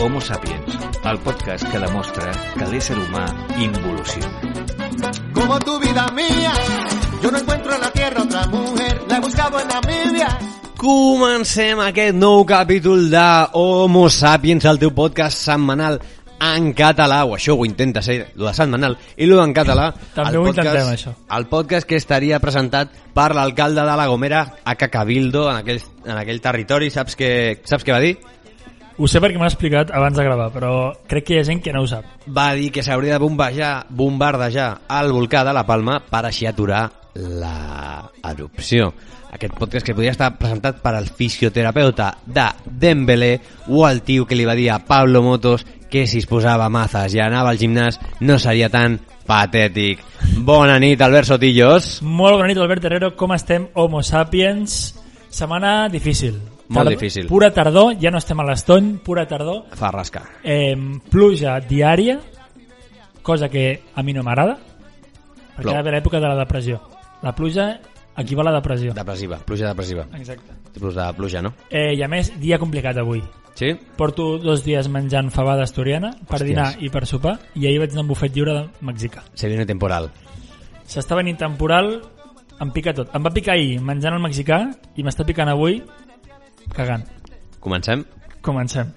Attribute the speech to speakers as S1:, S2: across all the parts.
S1: Homo Sapiens, el podcast que demostra que l'ésser humà involuciona.
S2: Como tu vida mía, yo no encuentro en la tierra otra mujer, la he buscado en Namibia.
S3: Comencem aquest nou capítol de Homo Sapiens, el teu podcast setmanal en català, o això ho intenta ser, el de setmanal, i el en català...
S4: També
S3: el
S4: ho intentem, això.
S3: El podcast que estaria presentat per l'alcalde de la Gomera, a Cacabildo, en aquell, en aquell territori, saps què, saps què va dir?
S4: Ho sé perquè m'ho ha explicat abans de gravar, però crec que hi ha gent que no ho sap.
S3: Va dir que s'hauria de bombejar, bombardejar el volcà de la Palma per així aturar la erupció. Aquest podcast que podria estar presentat per al fisioterapeuta de Dembélé o el tio que li va dir a Pablo Motos que si es posava mazes i anava al gimnàs no seria tan patètic. Bona nit, Albert Sotillos.
S4: Molt bona nit, Albert Herrero. Com estem, Homo Sapiens? Setmana difícil.
S3: Molt difícil.
S4: Pura tardor, ja no estem a l'estony, pura tardor.
S3: Fa rascar.
S4: Eh, pluja diària, cosa que a mi no m'agrada, perquè
S3: Plou.
S4: ara ve l'època de la depressió. La pluja equival a depressió.
S3: Depressiva, pluja depressiva.
S4: Exacte.
S3: Tipus de pluja, no?
S4: Eh, I a més, dia complicat avui.
S3: Sí?
S4: Porto dos dies menjant fabada asturiana per
S3: Hòsties.
S4: dinar i per sopar i ahir vaig anar a un bufet lliure de mexicà.
S3: Se viene temporal.
S4: S'està venint temporal, em pica tot. Em va picar ahir menjant el mexicà i m'està picant avui cagant.
S3: Comencem?
S4: Comencem.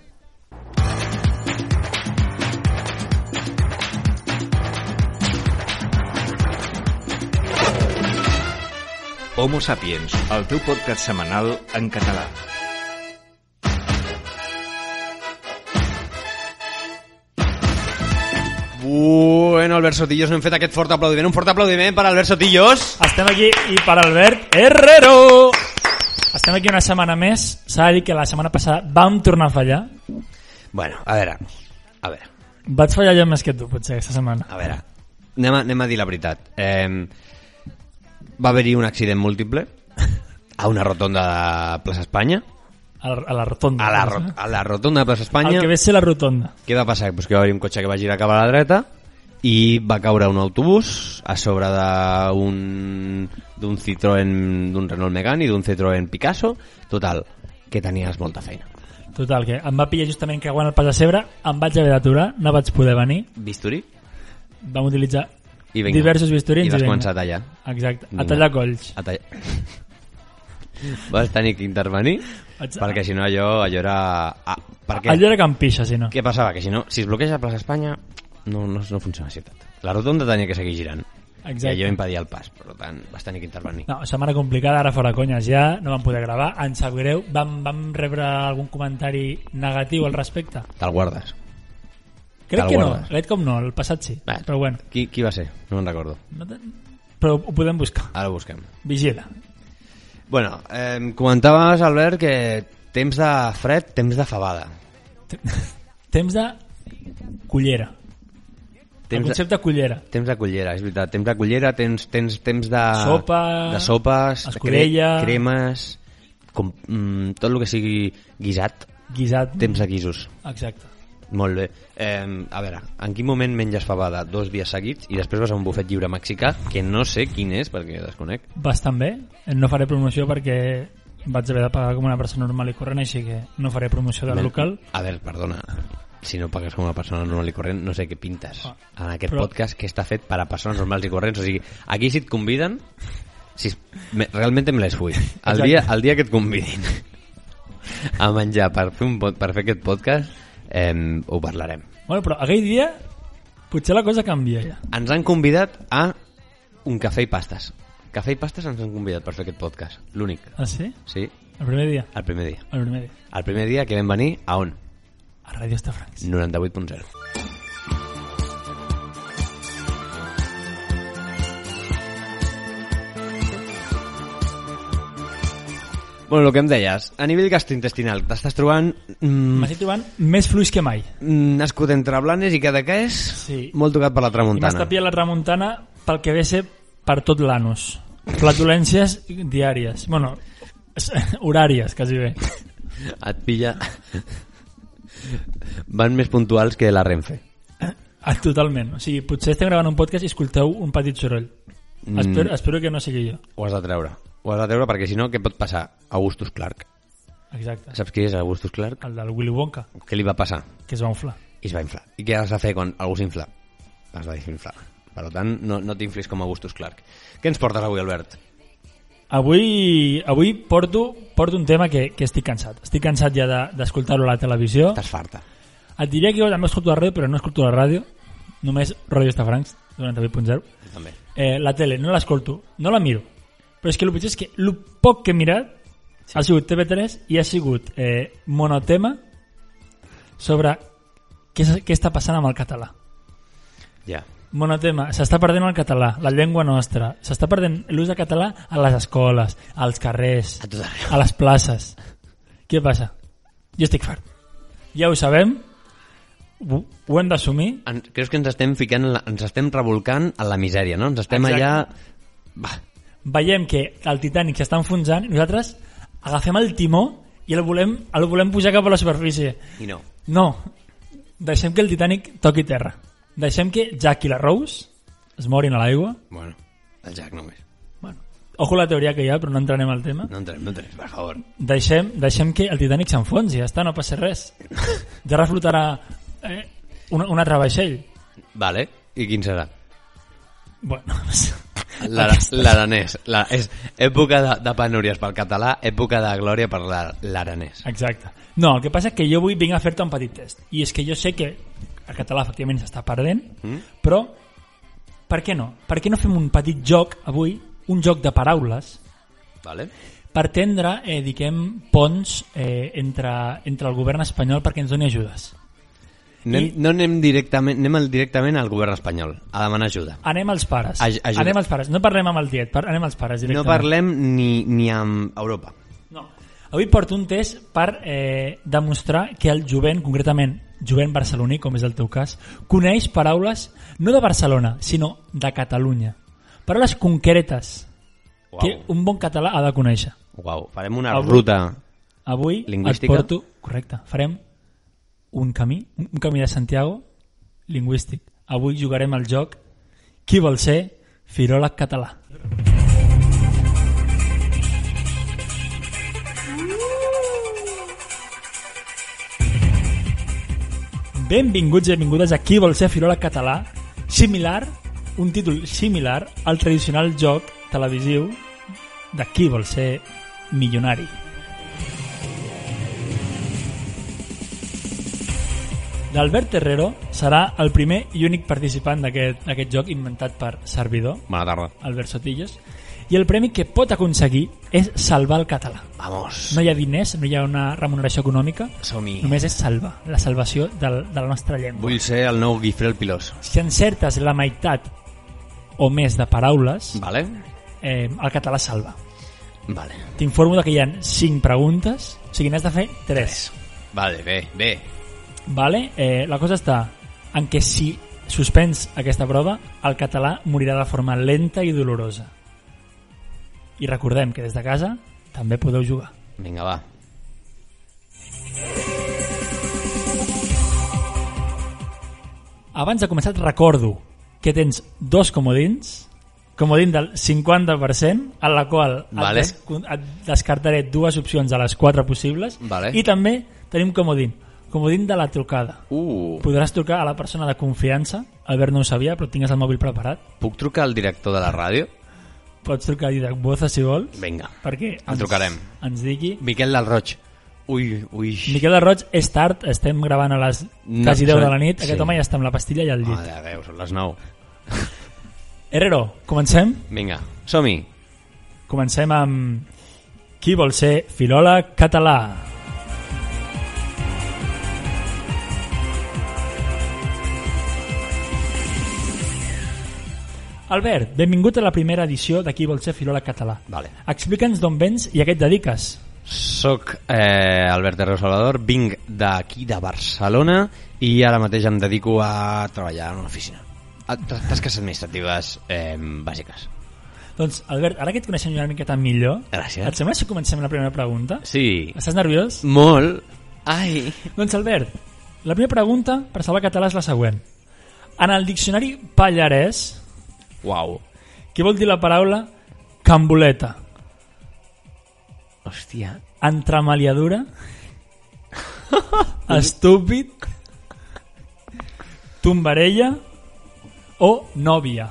S1: Homo Sapiens, el teu podcast setmanal en català.
S3: Bueno, Albert Sotillos, hem fet aquest fort aplaudiment. Un fort aplaudiment per Albert Sotillos.
S4: Estem aquí i per Albert Herrero! Estem aquí una setmana més. S'ha de dir que la setmana passada vam tornar a fallar.
S3: Bueno, a veure, a veure,
S4: Vaig fallar jo més que tu, potser, aquesta setmana.
S3: a veure. Anem a, anem a dir la veritat. Eh, va haver-hi un accident múltiple a una rotonda de plaça Espanya.
S4: A la, a la rotonda.
S3: A la, ro- a la rotonda de plaça
S4: El
S3: Espanya.
S4: que ve a ser la rotonda.
S3: Què va passar? Pues que va haver un cotxe que va girar cap a la dreta i va caure un autobús a sobre d'un d'un Citroën, d'un Renault Megane i d'un Citroën Picasso. Total, que tenies molta feina.
S4: Total, que em va pillar justament creuant el pas de cebre, em vaig haver d'aturar, no vaig poder venir,
S3: Bisturí?
S4: vam utilitzar
S3: I vinga.
S4: diversos
S3: I
S4: bisturins
S3: vas
S4: vinga.
S3: començar a tallar.
S4: Exacte,
S3: Vinga.
S4: a tallar colls.
S3: A tall... Vas tenir que intervenir
S4: Vaig-
S3: perquè si no allò, allò era... Ah, perquè...
S4: Allò era Can Pixa, si no.
S3: Què passava? Que si no, si es bloqueja la plaça Espanya no, no, no funciona la ciutat. La rotonda tenia que seguir girant. I
S4: Exacte.
S3: allò impedia el pas, per tant vas tenir que intervenir.
S4: No, setmana complicada, ara fora conyes ja, no vam poder gravar, ens sap greu, vam, vam rebre algun comentari negatiu al respecte?
S3: Te'l guardes.
S4: Crec
S3: Te'l
S4: que no,
S3: guardes.
S4: crec com no, el passat sí,
S3: Va.
S4: però bueno,
S3: Qui, qui va ser? No me'n recordo.
S4: no te... però ho podem buscar,
S3: Ara ho busquem.
S4: vigila.
S3: Bueno, eh, comentaves, Albert, que temps de fred, temps de fabada.
S4: Temps de cullera, el
S3: Temps de,
S4: concepte cullera,
S3: temps de cullera, és veritat. Temps de cullera, temps, temps, temps de...
S4: Sopa,
S3: de sopes,
S4: escudella.
S3: cre cremes, com, mm, tot el que sigui guisat,
S4: guisat,
S3: temps de guisos.
S4: exacte.
S3: Molt bé. Eh, a veure, en quin moment menges fabada dos dies seguits i després vas a un bufet lliure mexicà, que no sé quin és perquè desconec.
S4: Bastant bé, no faré promoció perquè vaig haver de pagar com una persona normal i corrent, així que no faré promoció del
S3: Bé,
S4: local.
S3: A veure, perdona, si no pagues com a persona normal i corrent, no sé què pintes
S4: Ah,
S3: en aquest
S4: però-
S3: podcast que està fet per a persones normals i corrents. O sigui, aquí si et conviden, si es- me, realment me les fui. El
S4: Exacte.
S3: dia, el dia que et convidin a menjar per fer, un, pod- per fer aquest podcast, eh, ho parlarem.
S4: Bueno, però aquell dia potser la cosa canvia ja.
S3: Ens han convidat a un cafè i pastes. Cafè i pastes ens han convidat per fer aquest podcast. L'únic.
S4: Ah, sí?
S3: Sí,
S4: El primer dia?
S3: el primer dia.
S4: El primer dia.
S3: El primer dia que vam venir a on?
S4: A Ràdio Estafrancs.
S3: 98.0. Bueno, el que em deies, a nivell gastrointestinal, t'estàs trobant mm,
S4: M'estic trobant més fluix que mai.
S3: mm, nascut entre Blanes i Cadaqués,
S4: Sí.
S3: molt tocat per la
S4: I m'està
S3: tramuntana.
S4: pillant la tramuntana pel que ve a ser per tot l'anus. Flatulències diàries. Bueno, s- horàries, quasi bé.
S3: Et pilla... van més puntuals que la Renfe.
S4: Ah, Totalment. O sigui, potser estem gravant un podcast i escolteu un petit soroll. Espero, espero que no sigui jo.
S3: Ho has de treure. Ho has de treure perquè si no, què pot passar? Augustus Clark.
S4: Exacte.
S3: Saps qui és Augustus Clark?
S4: El del Willy Wonka,
S3: Què li va passar?
S4: que es va inflar.
S3: I es va inflar. I què has de fer quan algú s'infla? Has de desinflar. Per tant, no, no t'inflis com Augustus Clark. Què ens portes avui, Albert?
S4: Avui, avui porto, porto un tema que, que estic cansat. Estic cansat ja de- d'escoltar-lo a la televisió.
S3: Estàs farta.
S4: Et diria que jo també escolto la ràdio, però no escolto la ràdio. Només Ràdio Estafrancs, 98.0.
S3: Jo també.
S4: Eh, la tele, no l'escolto, no la miro. Però és que el pitjor és que el poc que he mirat sí. ha sigut TV3 i ha sigut eh, monotema sobre què, s- què està passant amb el català.
S3: Ja.
S4: Monotema, s'està perdent el català, la llengua nostra, s'està perdent l'ús de català a les escoles, als carrers,
S3: A tot arreu.
S4: a les places. Què passa? Jo estic fart. Ja ho sabem, ho ho hem d'assumir,
S3: En, creus que ens estem ficant, en la, ens estem revolcant en la misèria, no? Ens estem
S4: Exacte.
S3: allà... Va,
S4: veiem que el Titanic s'està enfonsant i nosaltres agafem el timó i el volem, el volem pujar cap a la superfície.
S3: i no.
S4: No, deixem que el Titanic toqui terra. Deixem que Jack i la Rose es morin a l'aigua.
S3: Bueno, el Jack només.
S4: Bueno, ojo la teoria que hi ha, però no entrarem al tema.
S3: No entrem, no entrem, per favor.
S4: Deixem, deixem que el Titanic s'enfonsi, ja està, no passa res. Ja reflotarà eh, un, un altre vaixell.
S3: Vale, i quin serà?
S4: Bueno,
S3: La- L'aranès. La, és època de, de penúries pel català, època de glòria per la- l'aranès.
S4: Exacte. No, el que passa és que jo avui vinc a fer-te un petit test. I és que jo sé que el català efectivament s'està perdent, mm? però per què no? Per què no fem un petit joc avui, un joc de paraules,
S3: Vale?
S4: per tendre, eh, diguem, ponts eh, entre, entre el govern espanyol perquè ens doni ajudes.
S3: Anem,
S4: I-
S3: No anem directament, anem al- directament al govern espanyol a demanar ajuda.
S4: Anem als pares.
S3: Aj- ajuda.
S4: Anem als pares. No parlem amb el tiet, par anem als pares
S3: No
S4: directament.
S3: parlem ni, ni amb Europa.
S4: No. Avui porto un test per eh, demostrar que el jovent, concretament jovent barceloní, com és el teu cas, coneix paraules no de Barcelona, sinó de Catalunya. Paraules concretes
S3: Uau,
S4: que un bon català ha de conèixer.
S3: Uau. farem una
S4: Avui-
S3: ruta.
S4: Avui et
S3: Lingüística.
S4: porto... Correcte, farem un camí, un un camí de Santiago lingüístic. Avui jugarem al joc Qui vol ser filòleg català? Benvinguts i benvingudes a Qui vol ser filòleg català? Similar, un títol similar al tradicional joc televisiu de Qui vol ser milionari. L'Albert Terrero serà el primer i únic participant d'aquest d'aquest joc inventat per Servidor,
S3: Bona tarda.
S4: Albert Sotillos, i el premi que pot aconseguir és salvar el català.
S3: Vamos.
S4: No hi ha diners, no hi ha una remuneració econòmica,
S3: Som-hi.
S4: només és salvar, la salvació del, de la nostra llengua.
S3: Vull ser el nou Guifré el Pilós.
S4: Si encertes la meitat o més de paraules,
S3: Vale?
S4: eh, el català salva.
S3: Vale.
S4: T'informo de que hi ha 5 preguntes, o sigui, n'has de fer 3.
S3: Vale, bé, bé.
S4: Vale? Eh, la cosa està en que si suspens aquesta prova, el català morirà de forma lenta i dolorosa. I recordem que des de casa també podeu jugar.
S3: Vinga, va.
S4: Abans de començar et recordo que tens dos comodins, comodin del 50%, en la qual
S3: Vale.
S4: et, descu- et descartaré dues opcions de les quatre possibles,
S3: Vale.
S4: i també tenim comodin, comodin de la trucada.
S3: Uh,
S4: Podràs trucar a la persona de confiança, Albert no ho sabia, però tingues el mòbil preparat,
S3: puc trucar al director de la ràdio?
S4: pots trucar a Didac Boza si vols
S3: Vinga.
S4: perquè ens,
S3: trucarem.
S4: ens digui
S3: Miquel del Roig. Ui, ui.
S4: Miquel de Roig és tard, estem gravant a les
S3: No,
S4: quasi 10
S3: són-
S4: de la nit, aquest
S3: sí.
S4: home ja està amb la pastilla i el llit.
S3: Mare de Déu, són les 9.
S4: Herrero, comencem?
S3: Vinga, som-hi.
S4: Comencem amb Qui vol ser filòleg català? Albert, benvingut a la primera edició de Qui vol ser filòleg català.
S3: Vale.
S4: Explica'ns d'on vens i a què et dediques.
S3: Soc eh, Albert Herrero Salvador, vinc d'aquí de Barcelona i ara mateix em dedico a treballar en una oficina. A ta- tasques administratives eh, bàsiques.
S4: Doncs, Albert, ara que et coneixem una miqueta millor,
S3: Gràcies.
S4: et sembla si comencem la primera pregunta?
S3: Sí,
S4: Estàs nerviós?
S3: molt. Ai,
S4: Doncs, Albert, La primera pregunta per salvar el català és la següent. En el diccionari pallarès,
S3: Uau.
S4: què vol dir la paraula camboleta?
S3: Hòstia.
S4: Entremaliadura? estúpid? Tombarella? O nòvia?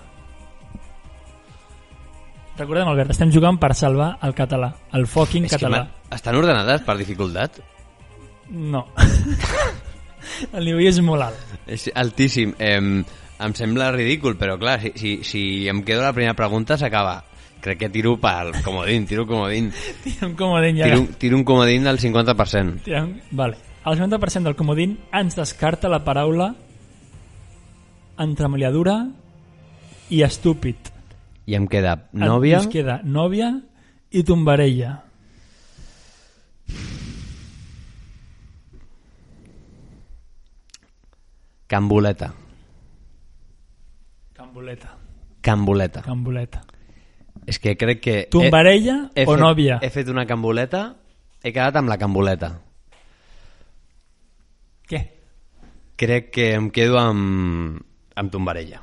S4: Recordem, Albert, estem jugant per salvar el català, el fucking
S3: És que
S4: català.
S3: m'ha- estan ordenades per dificultat?
S4: No. el nivell és molt alt.
S3: És altíssim. Em, em sembla ridícul, però clar, si, si, si em quedo la primera pregunta s'acaba. Crec que tiro pel comodín, tiro comodín.
S4: Tira un comodín ja.
S3: Tiro, un- tiro un comodín del 50%.
S4: Tira un... Vale. El 90% del comodín ens descarta la paraula entremaliadura i estúpid.
S3: I em queda nòvia...
S4: Ens queda nòvia i tombarella.
S3: Camboleta.
S4: Camboleta.
S3: Camboleta.
S4: Camboleta.
S3: Eh, És que crec que...
S4: Tombarella
S3: he, he
S4: o
S3: fet,
S4: nòvia?
S3: He fet una camboleta, he quedat amb la camboleta.
S4: Què?
S3: Crec que em quedo amb, amb Tombarella.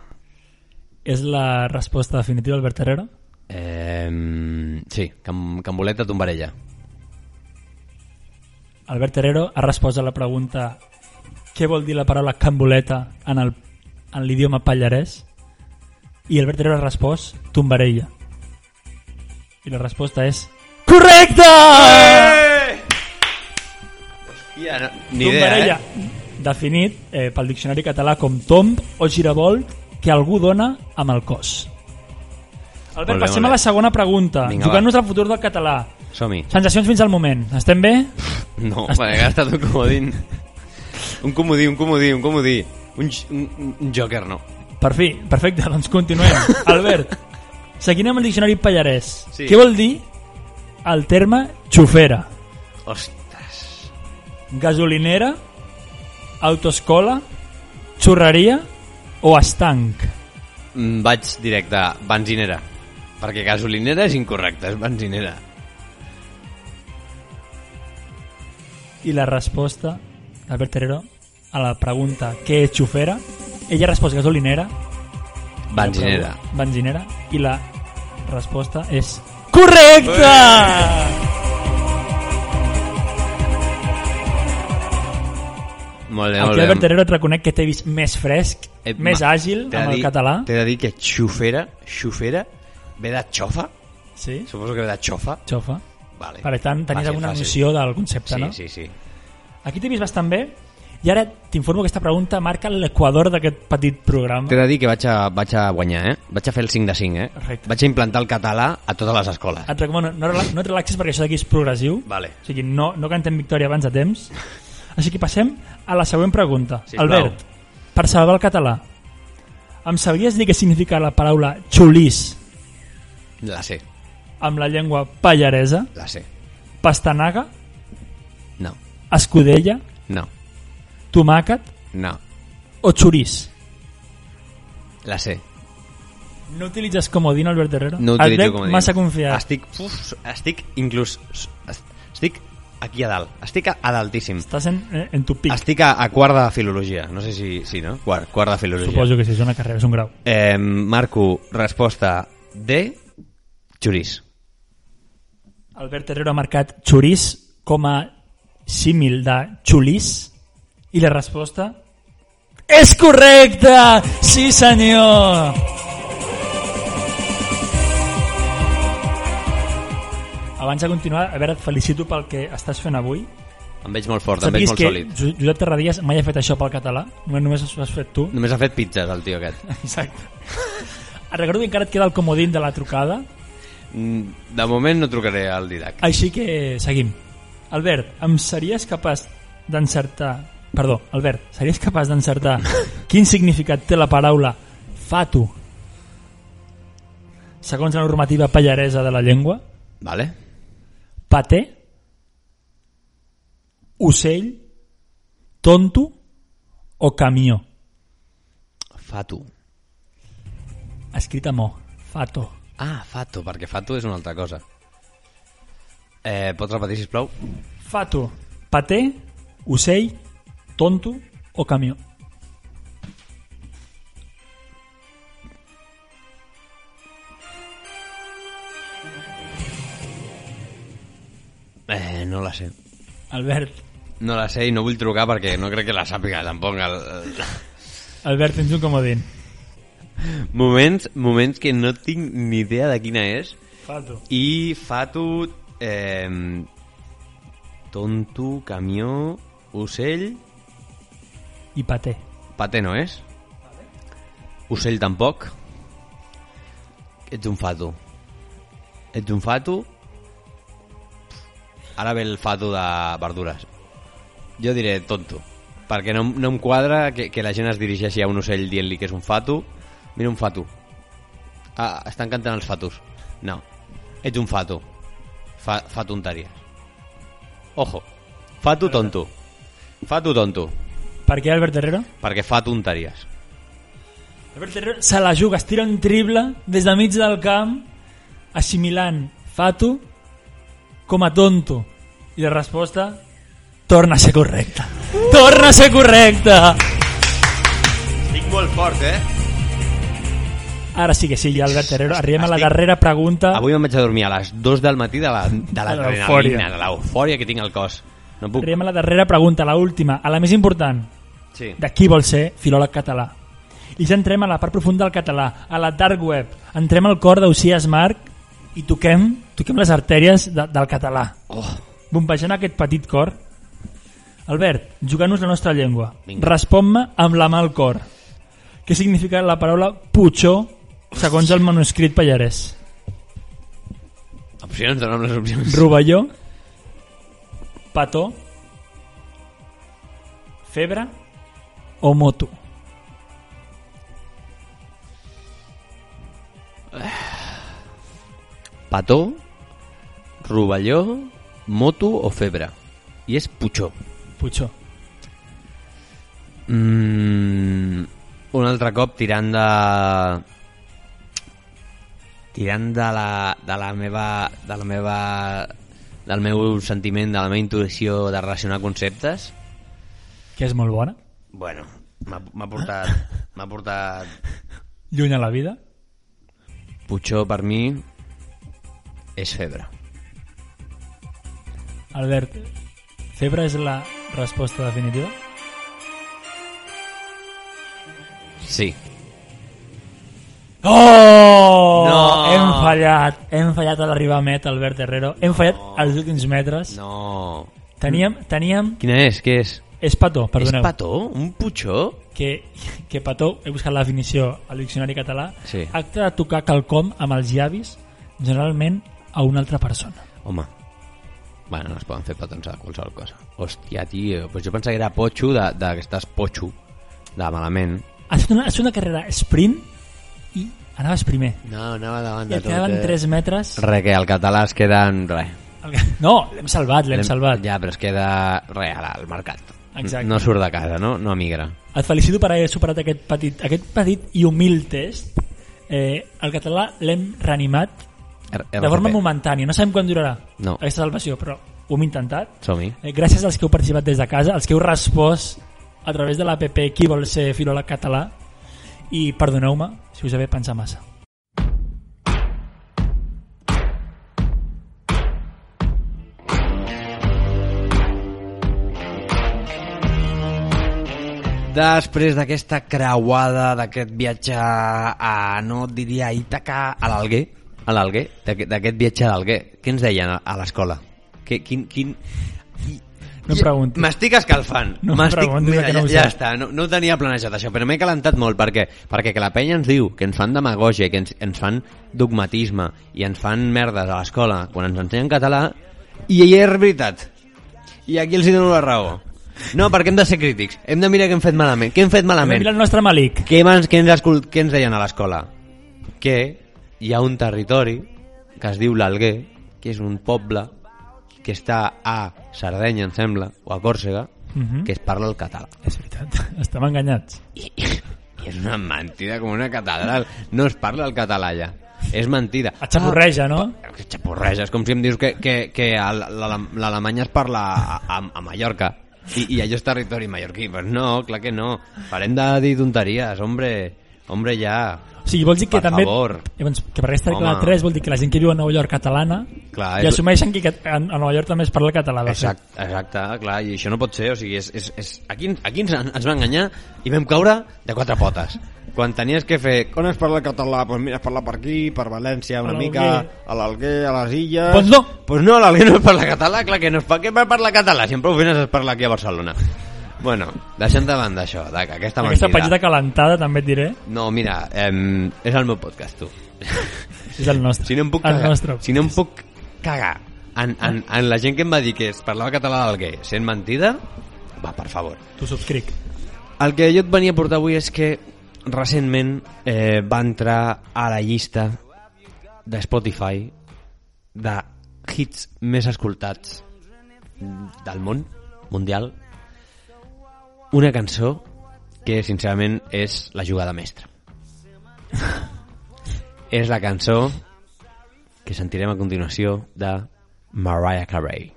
S4: És la resposta definitiva, Albert Herrero?
S3: Eh, sí, cam, camboleta, Tombarella.
S4: Albert Herrero ha respost a la pregunta què vol dir la paraula camboleta en el- en l'idioma pallarès i Albert Herrero ha respost tombarella. I la resposta és correcta!
S3: Ja, no, ni idea,
S4: Tombarella,
S3: eh?
S4: definit eh, pel diccionari català com tomb o giravolt que algú dona amb el cos.
S3: Molt
S4: Albert,
S3: bé,
S4: passem
S3: molt
S4: a la
S3: bé.
S4: segona pregunta.
S3: Vinga,
S4: Jugant-nos al futur del català.
S3: Som-hi.
S4: Sensacions fins al moment. Estem bé?
S3: No, m'he gastat un comodín. Un comodí, un comodí, un comodí. Un, j- un, un joker, no.
S4: Per fi, perfecte, doncs continuem. Albert, seguint amb el diccionari pallarès.
S3: Sí.
S4: Què vol dir el terme xofera?
S3: Ostres.
S4: Gasolinera, autoscola, xurreria o estanc?
S3: Mm, Vaig directe, a benzinera. Perquè gasolinera és incorrecte, és benzinera.
S4: I la resposta, Albert Terrero, a la pregunta què és xofera, ella ha respost gasolinera.
S3: Benzinera.
S4: Benzinera. I la resposta és correcta!
S3: Molt bé,
S4: Aquí
S3: molt
S4: Albert
S3: bé.
S4: Herrero et reconec que t'he vist més fresc,
S3: Eh,
S4: més
S3: ma-
S4: àgil
S3: t'he de
S4: amb el
S3: dir-
S4: català.
S3: T'he de dir que xufera, xufera, ve de xofa?
S4: Sí,
S3: Suposo que ve de xofa.
S4: xofa.
S3: Vale.
S4: Per tant, tenies
S3: Fàcil,
S4: alguna
S3: fàcil.
S4: noció del concepte,
S3: Sí,
S4: no?
S3: sí, sí.
S4: Aquí t'he vist bastant bé i ara t'informo que aquesta pregunta marca l'equador d'aquest petit programa.
S3: T'he de dir que vaig a, vaig a guanyar, eh? Vaig a fer el 5 de 5, eh?
S4: Perfecte.
S3: Vaig a implantar el català a totes les escoles.
S4: Et recomano, no, rela- no et relaxis perquè això d'aquí és progressiu.
S3: Vale.
S4: O sigui, no, no cantem victòria abans de temps. Així que passem a la següent pregunta.
S3: Sisplau.
S4: Albert, per salvar el català, em sabries dir què significa la paraula xulís
S3: La sé,
S4: amb la llengua pallaresa,
S3: la sé.
S4: pastanaga,
S3: No,
S4: escudella,
S3: no,
S4: tomàquet
S3: no.
S4: o xurís?
S3: La sé.
S4: No utilitzes comodino, Albert Herrero?
S3: No
S4: Et
S3: utilitzo
S4: veig
S3: com a dir.
S4: massa confiat.
S3: Estic, uf, estic inclús... Estic aquí a dalt. Estic a, a daltíssim.
S4: Estàs en, eh, en tu pic.
S3: Estic a, a quart de filologia. No sé si... Sí, no? Quart, quart de filologia.
S4: Suposo que sí, és una carrera, és un grau.
S3: Eh, marco resposta D, xurís.
S4: Albert Herrero ha marcat xurís com a símil de xulís i la resposta és correcta! Sí, senyor! Abans de continuar, a veure, et felicito pel que estàs fent avui.
S3: Em veig molt fort, em veig molt
S4: que
S3: sòlid.
S4: Jo- Josep Terradies mai ha fet això pel català, només, només ho has fet tu.
S3: Només ha fet pizzas, el tio aquest.
S4: Exacte. Et recordo que encara et queda el comodín de la trucada,
S3: Mm, De moment no trucaré al Didac.
S4: així que seguim. Albert, em series capaç d'encertar... Perdó, Albert, series capaç d'encertar quin significat té la paraula fatu segons la normativa pallaresa de la llengua?
S3: Vale?
S4: Paté? Ocell? Tonto? O camió?
S3: Fatu.
S4: Escrit amb O. Fato.
S3: Ah, Fatu, perquè Fatu és una altra cosa. Eh, pots repetir, sisplau?
S4: Fato, paté, ocell, tonto o camió?
S3: Eh, no la sé.
S4: Albert,
S3: No la sé i no vull trucar perquè no crec que la sàpiga tampoc. El...
S4: Albert, tens un comodín.
S3: Moments, moments que no tinc ni idea de quina és
S4: Fato.
S3: i Fatu, eh, tonto, camió, ocell...
S4: I paté.
S3: Pate no és. Ocell tampoc. Ets un fato. Ets un fato. Ara ve el fato de verdures. Jo diré tonto. Perquè no, no em quadra que, que la gent es dirigeixi a un ocell dient-li que és un fato. Mira un fato. Ah, estan cantant els fatos. No. Ets un fato. Fa, fa tonteries. Ojo. Fato tonto. Fato tonto.
S4: Per què Albert Herrero?
S3: Perquè fa tonteries.
S4: Albert Herrero se la juga, es tira un triple des de mig del camp assimilant Fato com a tonto. I la resposta torna a ser correcta.
S3: Uh!
S4: Torna a ser correcta!
S3: Estic molt fort, eh?
S4: Ara sí que sí, ja, Albert Herrero. Arribem a la
S3: Estic-
S4: darrera pregunta.
S3: Avui me'n vaig a dormir a les 2 del matí de la- de l'adrenalina,
S4: l'eufòria.
S3: de l'eufòria que tinc al cos. No puc.
S4: Arribem a la darrera pregunta, la última, a la més important.
S3: Sí.
S4: de qui vol ser filòleg català. I ja entrem a la part profunda del català, a la dark web. Entrem al cor d'Ausias Marc i toquem, toquem les artèries de, del català. Oh. Bombejant aquest petit cor. Albert, jugant-nos la nostra llengua.
S3: Vinga.
S4: Respon-me amb la mà al cor. Què significa la paraula putxó segons el manuscrit pallarès?
S3: Opcions, dona'm les opcions.
S4: Rovelló, petó, febre o moto?
S3: Pató, rovelló, moto o febre. I és putxó.
S4: Putxó.
S3: Mm, un altre cop tirant de... Tirant de la, de la meva... De la meva del meu sentiment, de la meva intuïció de relacionar conceptes,
S4: que és molt bona,
S3: Bueno, m'ha m'ha portat... M'ha portat...
S4: lluny a la vida.
S3: Puigó, per mi, és febre.
S4: Albert, febre és la resposta definitiva?
S3: Sí.
S4: Oh!
S3: No!
S4: Hem fallat, hem fallat a l'arribar a Met, Albert Herrero. Hem fallat als últims metres.
S3: No.
S4: Teníem, teníem...
S3: Quina és? Què és?
S4: És Pató, perdoneu.
S3: És pató? Un putxó?
S4: que, que Pató, he buscat la definició al diccionari català,
S3: Sí.
S4: acte de tocar quelcom amb els llavis, generalment a una altra persona.
S3: Home. Bueno, no es poden fer petons a qualsevol cosa. Hòstia, tio. Pues jo pensava que era potxo de, de que estàs potxo. De malament.
S4: Has fet una, has fet una carrera sprint i anaves primer.
S3: No, anava davant eh.
S4: I et quedaven 3 metres...
S3: tota- Re, que al català es queden... Re.
S4: El que- No, l'hem salvat, l'hem salvat.
S3: Ja, però es queda... Re, al- al mercat.
S4: Exacte.
S3: No surt de casa, no? No migra.
S4: Et felicito per haver superat aquest petit, aquest petit i humil test. Eh, el català l'hem reanimat
S3: R
S4: de forma momentània. No sabem quan durarà
S3: No.
S4: aquesta salvació, però ho hem intentat.
S3: Som-hi.
S4: Eh, gràcies als que heu participat des de casa, als que heu respost a través de l'APP qui vol ser filòleg català i perdoneu-me si us he pensat massa.
S3: Després d'aquesta creuada, d'aquest viatge a, no et diria, a Ítaca, a l'Alguer, a l'Alguer, d'aquest- d'aquest viatge a l'Alguer, què ens deien a- a l'escola? Que, quin, quin...
S4: No em
S3: Ja-
S4: preguntis.
S3: M'estic escalfant.
S4: No em
S3: M'estic-
S4: preguntis,
S3: Mira,
S4: que no
S3: ja,
S4: ho
S3: ja
S4: sé.
S3: està, no, no ho tenia planejat això, però m'he calentat molt perquè, perquè que la penya ens diu que ens fan demagogia, que ens, ens fan dogmatisme i ens fan merdes a l'escola quan ens ensenyen català, i ja és veritat. I aquí els hi dono la raó. No, perquè hem de ser crítics. Hem de mirar què hem fet malament. Què hem fet malament?
S4: Mira el nostre Malik.
S3: Què, ens, què, ens, escol- què ens deien a l'escola? Que hi ha un territori que es diu l'Alguer, que és un poble que està a Sardenya, em sembla, o a Còrsega,
S4: Mhm.
S3: que es parla el català.
S4: És veritat, estem enganyats.
S3: I és una mentida com una catedral. No es parla el català allà. És mentida. Ah,
S4: Et xapurreja, no?
S3: Que xapurreja, és com si em dius que, que, que a l'Ale- l'Alemanya es parla a, a, a Mallorca. I, I allò és territori mallorquí. Pues no, clar que no. Parem de dir tonteries, hombre. Hombre, ja.
S4: O sigui, vols dir que
S3: Per
S4: també...
S3: favor.
S4: Llavors, que per aquesta regla
S3: Home.
S4: 3 vol dir que la gent que viu a Nova York catalana
S3: Clar,
S4: i
S3: és-
S4: assumeixen que cat- a a Nova York també es parla el català. de fet.
S3: Exacte, exacte, clar, i això no pot ser, o sigui, és, és, és... aquí, aquí ens, ens va enganyar i vam caure de quatre potes. Quan tenies que fer, on es parla català? Doncs pues mira, es parla per aquí, per València,
S4: A
S3: una
S4: l'Alguer.
S3: mica, a l'Alguer, a les Illes...
S4: Doncs no.
S3: Pues no, a l'Alguer no es parla català, clar que no es parla, què parla català? Si amb prou feines es parla aquí a Barcelona. Bueno, deixem de banda això, de, que aquesta mentida...
S4: Aquesta petita calentada, també et diré,
S3: No, mira, eh, és el meu podcast, tu.
S4: és el nostre.
S3: Si no em puc
S4: el
S3: cagar,
S4: nostre.
S3: si no em puc cagar en, en, en la gent que em va dir que es parlava català del gay sent mentida, va, per favor.
S4: T'ho subscric.
S3: El que jo et venia a portar avui és que recentment eh, va entrar a la llista de Spotify de hits més escoltats del món mundial una cançó que sincerament és la jugada mestra és la cançó que sentirem a continuació de Mariah Carey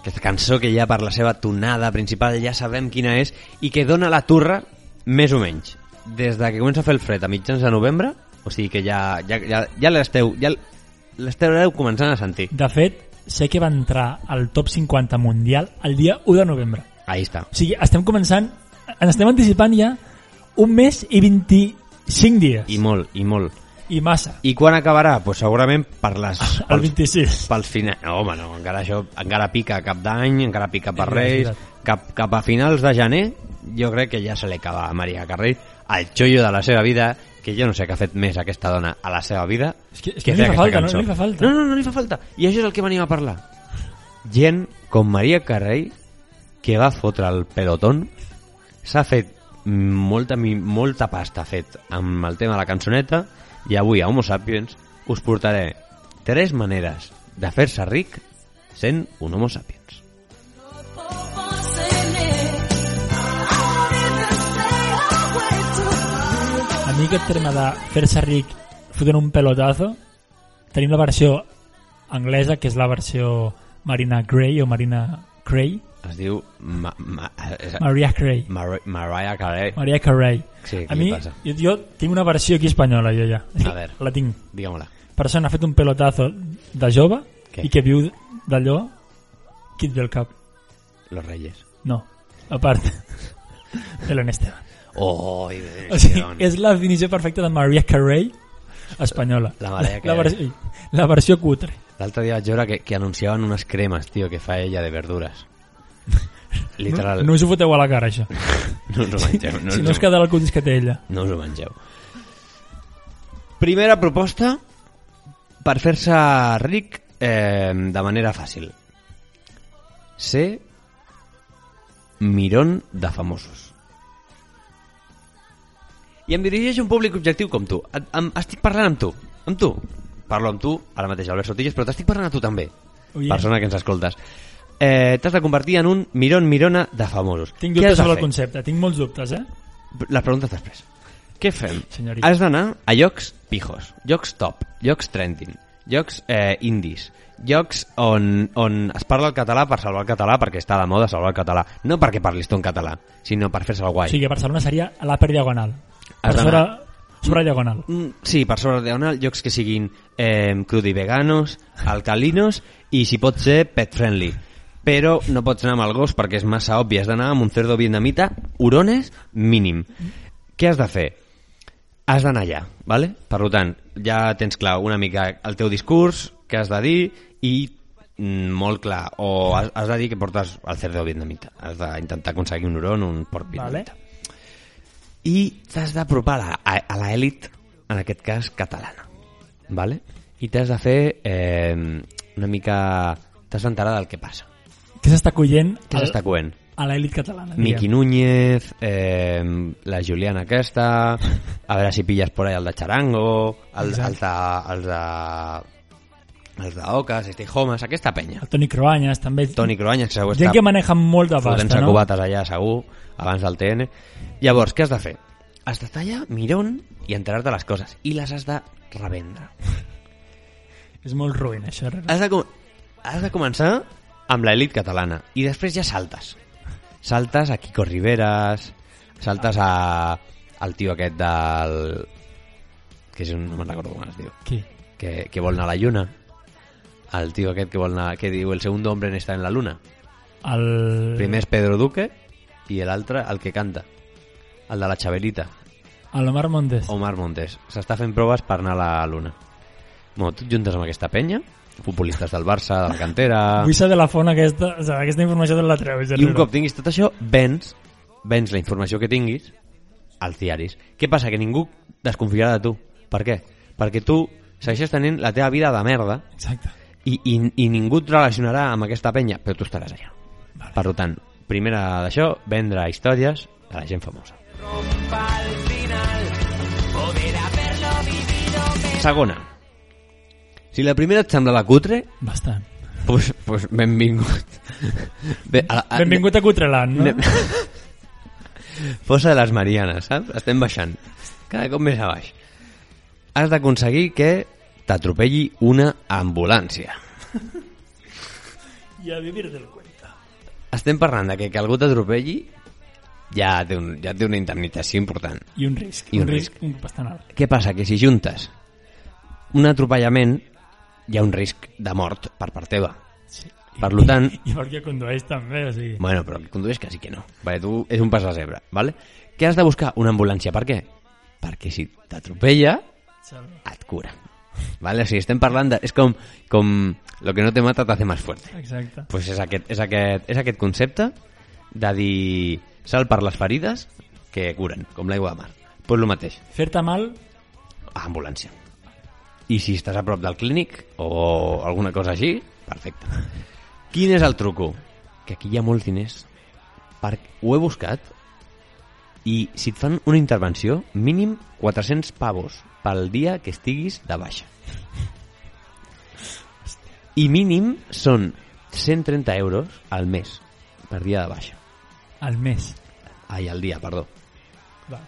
S3: Aquesta cançó que ja per la seva tonada principal ja sabem quina és i que dona la turra més o menys. Des de que comença a fer el fred a mitjans de novembre, o sigui que ja, ja, ja, ja l'esteu ja l'estareu començant a sentir.
S4: De fet, sé que va entrar al top 50 mundial el dia 1 de novembre.
S3: Ahí està.
S4: O sigui, estem començant, ens estem anticipant ja un mes i 25 dies.
S3: I molt, i molt. Ah,
S4: I massa.
S3: I quan acabarà? Pues segurament per les...
S4: El
S3: pels-
S4: 26.
S3: pel final... No, home, no, encara això encara pica a cap d'any, encara pica per
S4: És
S3: Reis,
S4: veritat.
S3: cap, cap a finals de gener, jo crec que ja se li acaba a Maria Carrell el xollo de la seva vida, que jo no sé què ha fet més aquesta dona a la seva vida
S4: És que- és que no
S3: fer
S4: li fa
S3: aquesta
S4: falta, no-
S3: cançó.
S4: no li fa falta.
S3: No, no, no li fa falta. I això és el que venim a parlar. Gent com Maria Carrell, que va fotre el pelotón, s'ha fet molta, mi- molta pasta ha fet amb el tema de la cançoneta i avui a Homo Sapiens us portaré tres maneres de fer-se ric sent un Homo Sapiens.
S4: A mi aquest terme de fer-se ric fotent un pelotazo, tenim la versió anglesa, que és la versió Marina Gray o Marina Cray,
S3: Es diu ma, ma, és-
S4: Maria Cray.
S3: Mar Mariah Carey.
S4: Maria Carey.
S3: Sí, què
S4: a
S3: li
S4: mi,
S3: passa?
S4: jo, jo tinc una versió aquí espanyola, jo ja.
S3: A veure.
S4: La tinc.
S3: Digue-me-la.
S4: persona ha fet un pelotazo de jove
S3: Què?
S4: i que viu d'allò qui et ve al cap?
S3: Los Reyes.
S4: No, a part Helen Esteban.
S3: Oh, i
S4: O sigui, és la definició perfecta de Maria Carey espanyola.
S3: La Mariah
S4: La,
S3: Carey.
S4: versió- la versió cutre.
S3: L'altre dia vaig veure que, que anunciaven unes cremes, tio, que fa ella de verdures. Literal.
S4: No us ho foteu a la cara, això.
S3: no us ho mengeu. us
S4: si no
S3: ho-
S4: us quedarà el cutis que té ella.
S3: No us ho mengeu. Primera proposta per fer-se ric eh, de manera fàcil. Ser mirón de famosos. I em dirigeix a un públic objectiu com tu. Et- Em, estic parlant amb tu. Amb tu. Parlo amb tu, ara mateix Albert Sotilles, però t'estic parlant a tu també.
S4: Oye.
S3: Persona que ens escoltes. Eh, T'has de convertir en un mirón mirona de famosos.
S4: Tinc
S3: Què has
S4: dubtes
S3: de
S4: sobre el
S3: fer?
S4: concepte, tinc molts dubtes, eh?
S3: Les preguntes després. Què fem?
S4: Senyorita.
S3: Has d'anar a llocs pijos, llocs top, llocs trending, llocs eh, indis, llocs on, on es parla el català per salvar el català, perquè està de moda salvar el català. No perquè parlis tu en català, sinó per fer-se el guai.
S4: O sigui, Barcelona seria a la per diagonal. Per
S3: Has
S4: sobre,
S3: d'anar.
S4: sobre diagonal.
S3: Mm, Sí, per sobre de diagonal, llocs que siguin eh, crudi veganos, alcalinos i, si pot ser, pet friendly. Però no pots anar amb el gos perquè és massa obvi. Has d'anar amb un cerdo vietnamita, hurones, mínim. Què has de fer? Has d'anar allà, ¿vale? Per lo tant, ja tens clar una mica el teu discurs, què has de dir i mm, molt clar, o has, has de dir que portes el cerdo vietnamita. Has d'intentar aconseguir un huron, un porc
S4: Vale?
S3: vietnamita i t'has d'apropar a, a, a l'elit, en aquest cas catalana, vale? i t'has de fer eh, una mica... t'has d'enterar del que passa.
S4: Què s'està collent
S3: Què s'està coent?
S4: a l'elit catalana?
S3: Miqui
S4: diguem?
S3: Núñez, eh, la Juliana aquesta, a veure si pilles por ahí el de Charango, el, el de... El de els d'Ocas, Stay Homes, aquesta penya.
S4: El Toni Croanyes, també.
S3: Toni Cruanyes, que segur
S4: Gent
S3: està
S4: que maneja molt de
S3: fotent-se
S4: pasta, no?
S3: cubates allà, segur, abans del TN. Llavors, què has de fer? Has d'estar allà, mirón, i enterar-te les coses. I les has de revendre.
S4: És molt ruïn, això. Herrera.
S3: Has de, com... has de començar amb l'elit catalana i després ja saltes. Saltes a Kiko Riveras, saltes a... al tio aquest del... que és un... no me'n recordo com es diu.
S4: Qui?
S3: que, que vol anar a la lluna el tio aquest que vol anar que diu el segundo hombre en estar en la luna
S4: El...
S3: primer és Pedro Duque i l'altre el que canta el de la Xabelita,
S4: El Omar Montes.
S3: Omar Montes s'està fent proves per anar a la luna bueno, tu et juntes amb aquesta penya futbolistes del Barça, de la cantera
S4: Vull ser de la font aquesta, o sigui, aquesta informació de la treus.
S3: Ah. i un
S4: Herrera.
S3: cop tinguis tot això vens, vens la informació que tinguis als diaris què passa? que ningú desconfiarà de tu per què? perquè tu segueixes tenint la teva vida de merda
S4: Exacte.
S3: i, i, i ningú et relacionarà amb aquesta penya, però tu estaràs allà. Vale. Per tant, primera d'això, vendre històries a la gent famosa. Segona. Si la primera et sembla la cutre,
S4: Bastant.
S3: pues, pues benvingut. Bé, a, a,
S4: Benvingut a Cutreland, no?
S3: Ah, Ne- Fossa de les Marianes, saps? Estem baixant. Cada cop més a baix. Has d'aconseguir que t'atropelli una ambulància.
S4: I a vivir del cuento.
S3: estem parlant de que, que algú t'atropelli ja, té un, ja té una indemnització important.
S4: I un risc.
S3: I un
S4: risc. Un bastant alt.
S3: Què passa? Que si juntes un atropellament hi ha un risc de mort per part teva.
S4: Sí.
S3: Per lo tant,
S4: I perquè condueix també, o sigui...
S3: bueno, però que condueix quasi que no. Perquè tu és un pas a zebra, ¿vale? Què has de buscar? Una ambulància. Per què? Perquè si t'atropella,
S4: Salva.
S3: et cura. ¿Vale? O sigui, estem parlant de... És com, com lo que no te mata te hace más fuerte.
S4: Exacte.
S3: pues és, aquest, és, aquest, és aquest concepte de dir sal per les ferides que curen, com l'aigua de mar. Doncs pues el mateix,
S4: Fer-te mal,
S3: a ambulància. I si estàs a prop del clínic o alguna cosa així, perfecte. Quin és el truco? Que aquí hi ha molts diners. Per... Ho he buscat i si et fan una intervenció, mínim 400 pavos pel dia que estiguis de baixa. I mínim són 130 euros al mes per dia de baixa.
S4: al mes.
S3: Ai, al dia, perdó.
S4: Va.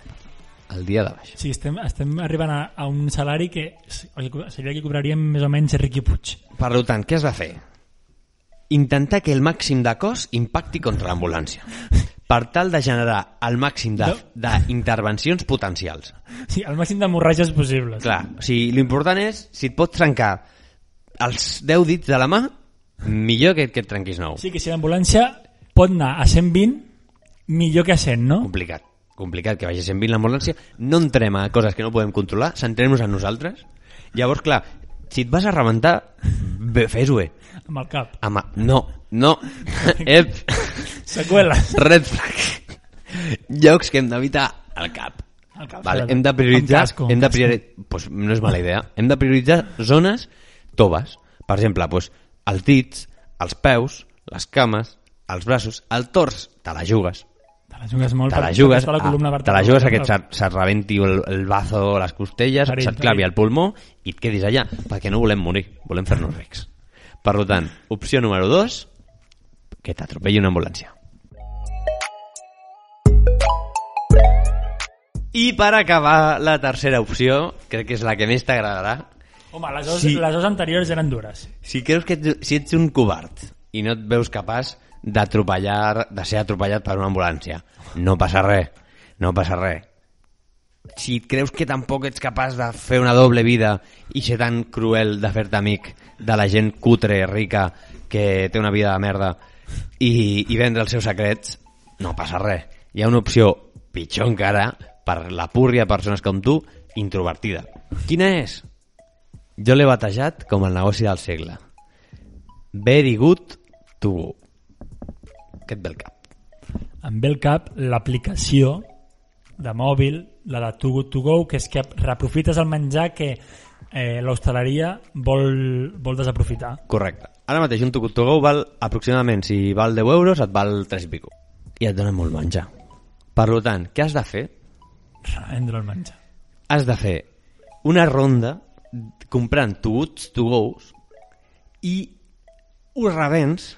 S3: Al dia de baixa.
S4: O sigui, estem, estem arribant a, a un salari que s- el que- seria el que cobraríem més o menys Riqui Puig.
S3: Per tant, què has de fer? Intentar que el màxim de cos impacti contra l'ambulància per tal de generar el màxim de- d'intervencions potencials.
S4: Sí, el màxim d'hemorràgies possibles.
S3: Clar, o sigui, l'important és si et pots trencar els 10 dits de la mà, millor que, que et trenquis nou.
S4: O sigui que si l'ambulància pot anar a 120, millor que a 100, no?
S3: Complicat, complicat que vagi sent 20 l'ambulància. No entrem a coses que no podem controlar, centrem-nos en nosaltres. Llavors, clar, si et vas a rebentar, bé, fes-ho bé.
S4: Amb el cap.
S3: Ama, no, no, ep,
S4: Seqüeles.
S3: Red flag. Llocs que hem d'evitar al cap.
S4: Al cap,
S3: Vale,
S4: sobretot.
S3: hem de prioritzar...
S4: Amb casco, amb
S3: hem de
S4: casco.
S3: priori... pues no és mala idea. Hem de prioritzar zones toves. Per exemple, pues, els dits, els peus, les cames, els braços, el tors, te la jugues.
S4: Te la jugues molt.
S3: Te la
S4: perquè
S3: jugues,
S4: està la columna
S3: a, te la
S4: vertebral.
S3: jugues a que et se- se't rebenti el, el bazo, les costelles,
S4: Perill,
S3: se't clavi
S4: perill.
S3: el pulmó i et quedis allà, perquè no volem morir, volem fer-nos rics. Per tant, opció número 2, que t'atropelli una ambulància. I per acabar, la tercera opció, crec que és la que més t'agradarà.
S4: Home, les dos,
S3: Sí.
S4: les dos anteriors eren dures.
S3: Si creus que ets, si ets un covard i no et veus capaç d'atropellar, de ser atropellat per una ambulància, no passa res, no passa res. Si creus que tampoc ets capaç de fer una doble vida i ser tan cruel de fer-te amic de la gent cutre, rica, que té una vida de merda i, i vendre els seus secrets, no passa res. Hi ha una opció pitjor encara per la púrria de persones com tu, introvertida. Quina és? Jo l'he batejat com el negoci del segle. Very good to go. Què et ve al cap?
S4: em ve al cap l'aplicació de mòbil, la de Too Good To Go, que és que reaprofites el menjar que eh, l'hostaleria vol, vol desaprofitar.
S3: Correcte. Ara mateix un tucut to go val aproximadament, si val 10 euros, et val 3 i pico. I et donen molt menjar. Per lo tant, què has de fer?
S4: Rendre el menjar.
S3: Has de fer una ronda comprant tuts, to go's i ho revens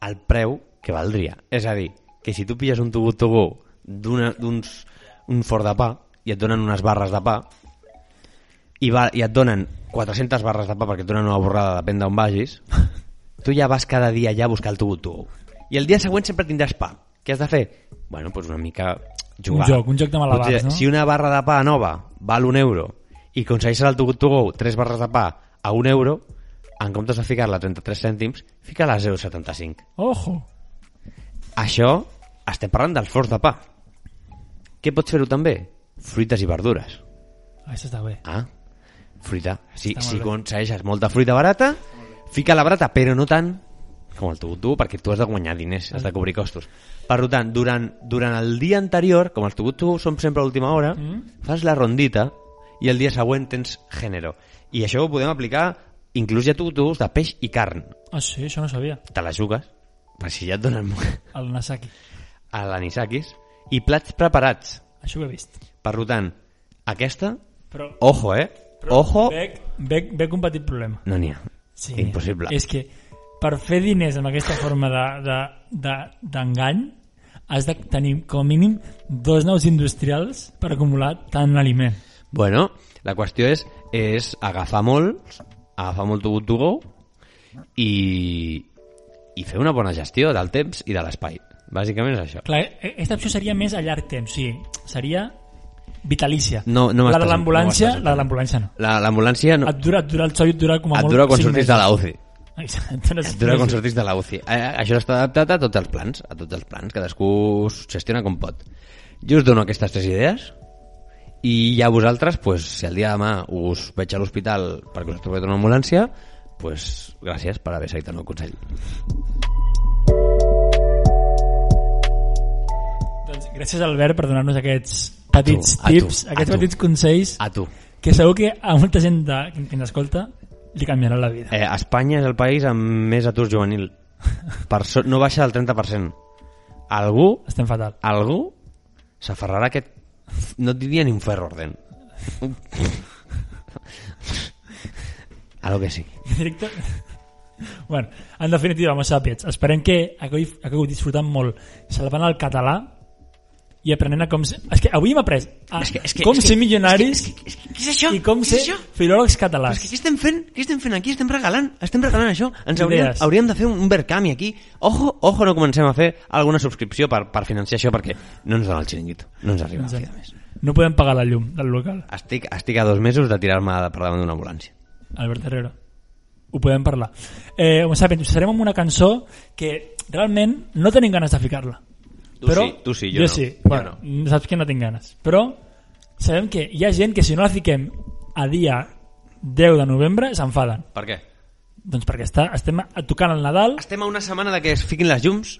S3: al preu que valdria. És a dir, que si tu pilles un tugut to go d'una- d'uns un fort de pa i et donen unes barres de pa, i, va, i et donen 400 barres de pa perquè et donen una borrada, depèn d'on vagis, tu ja vas cada dia allà a buscar el teu tu. I el dia següent sempre tindràs pa. Què has de fer? Bueno, doncs una mica jugar.
S4: Un joc, un joc de malabars,
S3: Potser,
S4: no?
S3: Si una barra de pa nova val un euro i aconsegueixes el tu go, tres barres de pa a un euro, en comptes de ficar-la a 33 cèntims, fica-la a 0,75.
S4: Ojo.
S3: Això, estem parlant del forç de pa. Què pots fer-ho també? Fruites i verdures.
S4: Això està bé.
S3: Ah, fruita. Si,
S4: Està molt
S3: si
S4: bé.
S3: aconsegueixes molta fruita barata, fica la barata, però no tant com el tu perquè tu has de guanyar diners, has de cobrir costos. Per tant, durant, durant el dia anterior, com els tu som sempre a última hora,
S4: Mm.
S3: fas la rondita i el dia següent tens gènere. I això ho podem aplicar inclús ja tu de peix i carn.
S4: Ah, sí, això no sabia.
S3: Te la jugues, per si ja et donen
S4: El Nasaki.
S3: a l'anisakis, i plats preparats.
S4: Això ho he vist.
S3: Per tant, aquesta,
S4: Però,
S3: ojo, eh?
S4: però
S3: Ojo,
S4: Bec, bec, bec un petit problema.
S3: no n'hi ha.
S4: Oh! Sí.
S3: Impossible.
S4: És que per fer diners amb aquesta forma d'engany de, de, d'engany, has de tenir com a mínim dos naus industrials per acumular tant aliment.
S3: Bueno, la qüestió és, és agafar molt, agafar molt to, to go i, i fer una bona gestió del temps i de l'espai. Bàsicament és això.
S4: Clar, aquesta opció seria més a llarg temps, sí. Seria vitalícia.
S3: No- no
S4: la
S3: m'estàs-
S4: de l'ambulància,
S3: no m'estàs
S4: la de l'ambulància no.
S3: La- L'ambulància no,
S4: Et dura, et dura el xoi, et dura com a
S3: et
S4: molt
S3: dura quan
S4: cinc
S3: sortis de la
S4: mesos. Ah,
S3: UCI.
S4: Exacte. no sé
S3: Et dura
S4: si-
S3: quan sortis de la UCI. Eh, això està adaptat a tots els plans, a tots els plans. Cadascú s'ho gestiona com pot. Jo us dono aquestes tres idees i ja vosaltres, pues, si el dia de demà us veig a l'hospital perquè us he trobat una ambulància, pues, gràcies per haver seguit el meu consell.
S4: Doncs gràcies, Albert, per donar-nos aquests petits
S3: A tu, a
S4: tips,
S3: tu, a
S4: aquests
S3: tu.
S4: petits consells,
S3: A tu.
S4: que segur que a molta gent de, que, que ens escolta li canviarà la vida.
S3: Eh, Espanya és el país amb més atur juvenil. Per so no baixa del 30%. Algú,
S4: Estem fatal.
S3: algú s'aferrarà a aquest... No et diria ni un ferro orden. A lo que sí.
S4: Directe... Bueno, en definitiva, homo sapiens, esperem que hagueu, hagueu disfrutat molt salvant el català i aprenent a com ser... És que avui hem après a
S5: És que- és que-
S4: com
S5: és que-
S4: ser milionaris
S5: És que- Què és això?
S4: i com
S5: Què
S4: ser
S5: és això? Però és
S4: filòlegs catalans.
S5: que què estem fent? Què estem fent aquí? Estem regalant, estem regalant això.
S3: Ens hauríem,
S4: Idees.
S3: hauríem de fer un verkami aquí. Ojo, ojo, no comencem a fer alguna subscripció per, per financiar això perquè no ens dona el xiringuito. No ens arriba la fi de mes.
S4: No podem pagar la llum del local.
S3: Estic, estic a dos mesos de tirar-me per davant d'una ambulància.
S4: Albert Herrera. Ho podem parlar. Eh, ho saben, serem amb una cançó que realment no tenim ganes de ficar-la.
S3: Tu sí, tu sí, jo no.
S4: sí.
S3: Jo
S4: Bueno, Saps que no tinc ganes. Però sabem que hi ha gent que si no la fiquem a dia 10 de novembre s'enfaden.
S3: Per què?
S4: Doncs perquè està, estem a- tocant el Nadal.
S3: Estem a una setmana de que es fiquin les llums.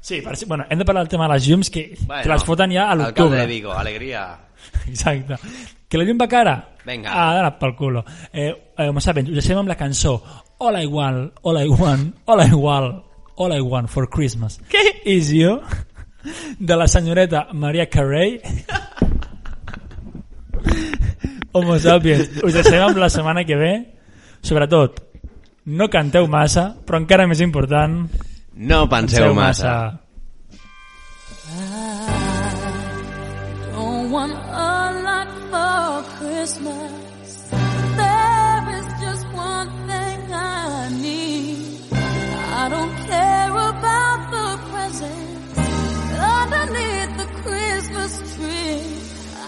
S4: Sí, per, si- bueno, hem de parlar del tema de les llums que bueno, te les foten ja a
S3: Alcalde de
S4: l'octubre.
S3: Vigo, alegria.
S4: Exacte. Que la llum va cara.
S3: Vinga.
S4: Ah, dona pel culo. Eh, eh, ho saben, us deixem amb la cançó All I Want, All I Want, All I Want, All I Want for Christmas. Què? Is you? De la senyoreta Maria Carey. Homo sapiens, us deixem amb la setmana que ve. Sobretot, no canteu massa, però encara més important,
S3: No penseu,
S4: penseu
S3: massa.
S4: massa.
S6: Don't want a lot for Christmas. There is just one thing I need. I don't care about the presents underneath the Christmas tree.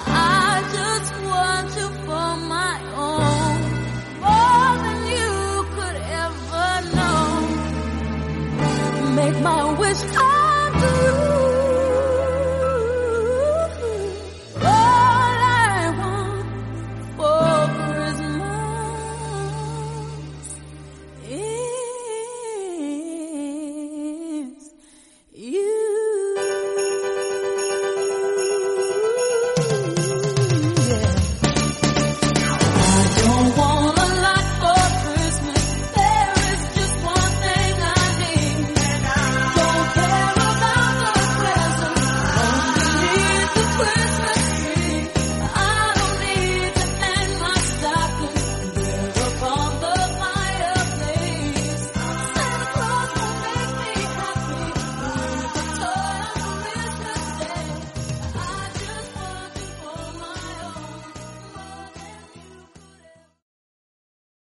S6: I just want you for my own, more than you could ever know. Make my wish come true.